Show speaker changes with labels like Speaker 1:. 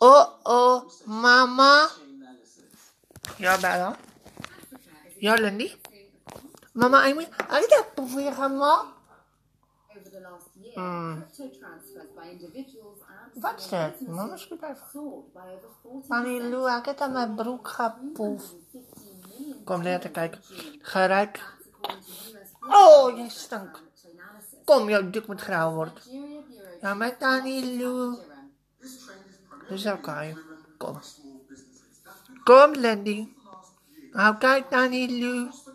Speaker 1: Oh-oh, Oh, mama. Ja, Bella. Ja, Lindy. Mama, I mean, I did that before, mama.
Speaker 2: Over the last year,
Speaker 1: Mm.
Speaker 2: crypto transfers by individuals and
Speaker 1: Wat is
Speaker 2: small
Speaker 1: dat?
Speaker 2: businesses
Speaker 1: Mama, schiet even.
Speaker 2: soared by over 40
Speaker 1: Annie Lou, ik heb aan mijn broek gepoefd.
Speaker 2: million.
Speaker 1: Kom, laten kijken. Geruik.
Speaker 2: That's according to US
Speaker 1: Oh, jij stinkt.
Speaker 2: analysis.
Speaker 1: Kom, jouw dik moet grauw worden.
Speaker 2: Nigeria Bureau
Speaker 1: Ja, met Annie Lou.
Speaker 2: Durham.
Speaker 1: Dus oké. Nou, Kom. Kom, Lindy. Oké, Annie Lou.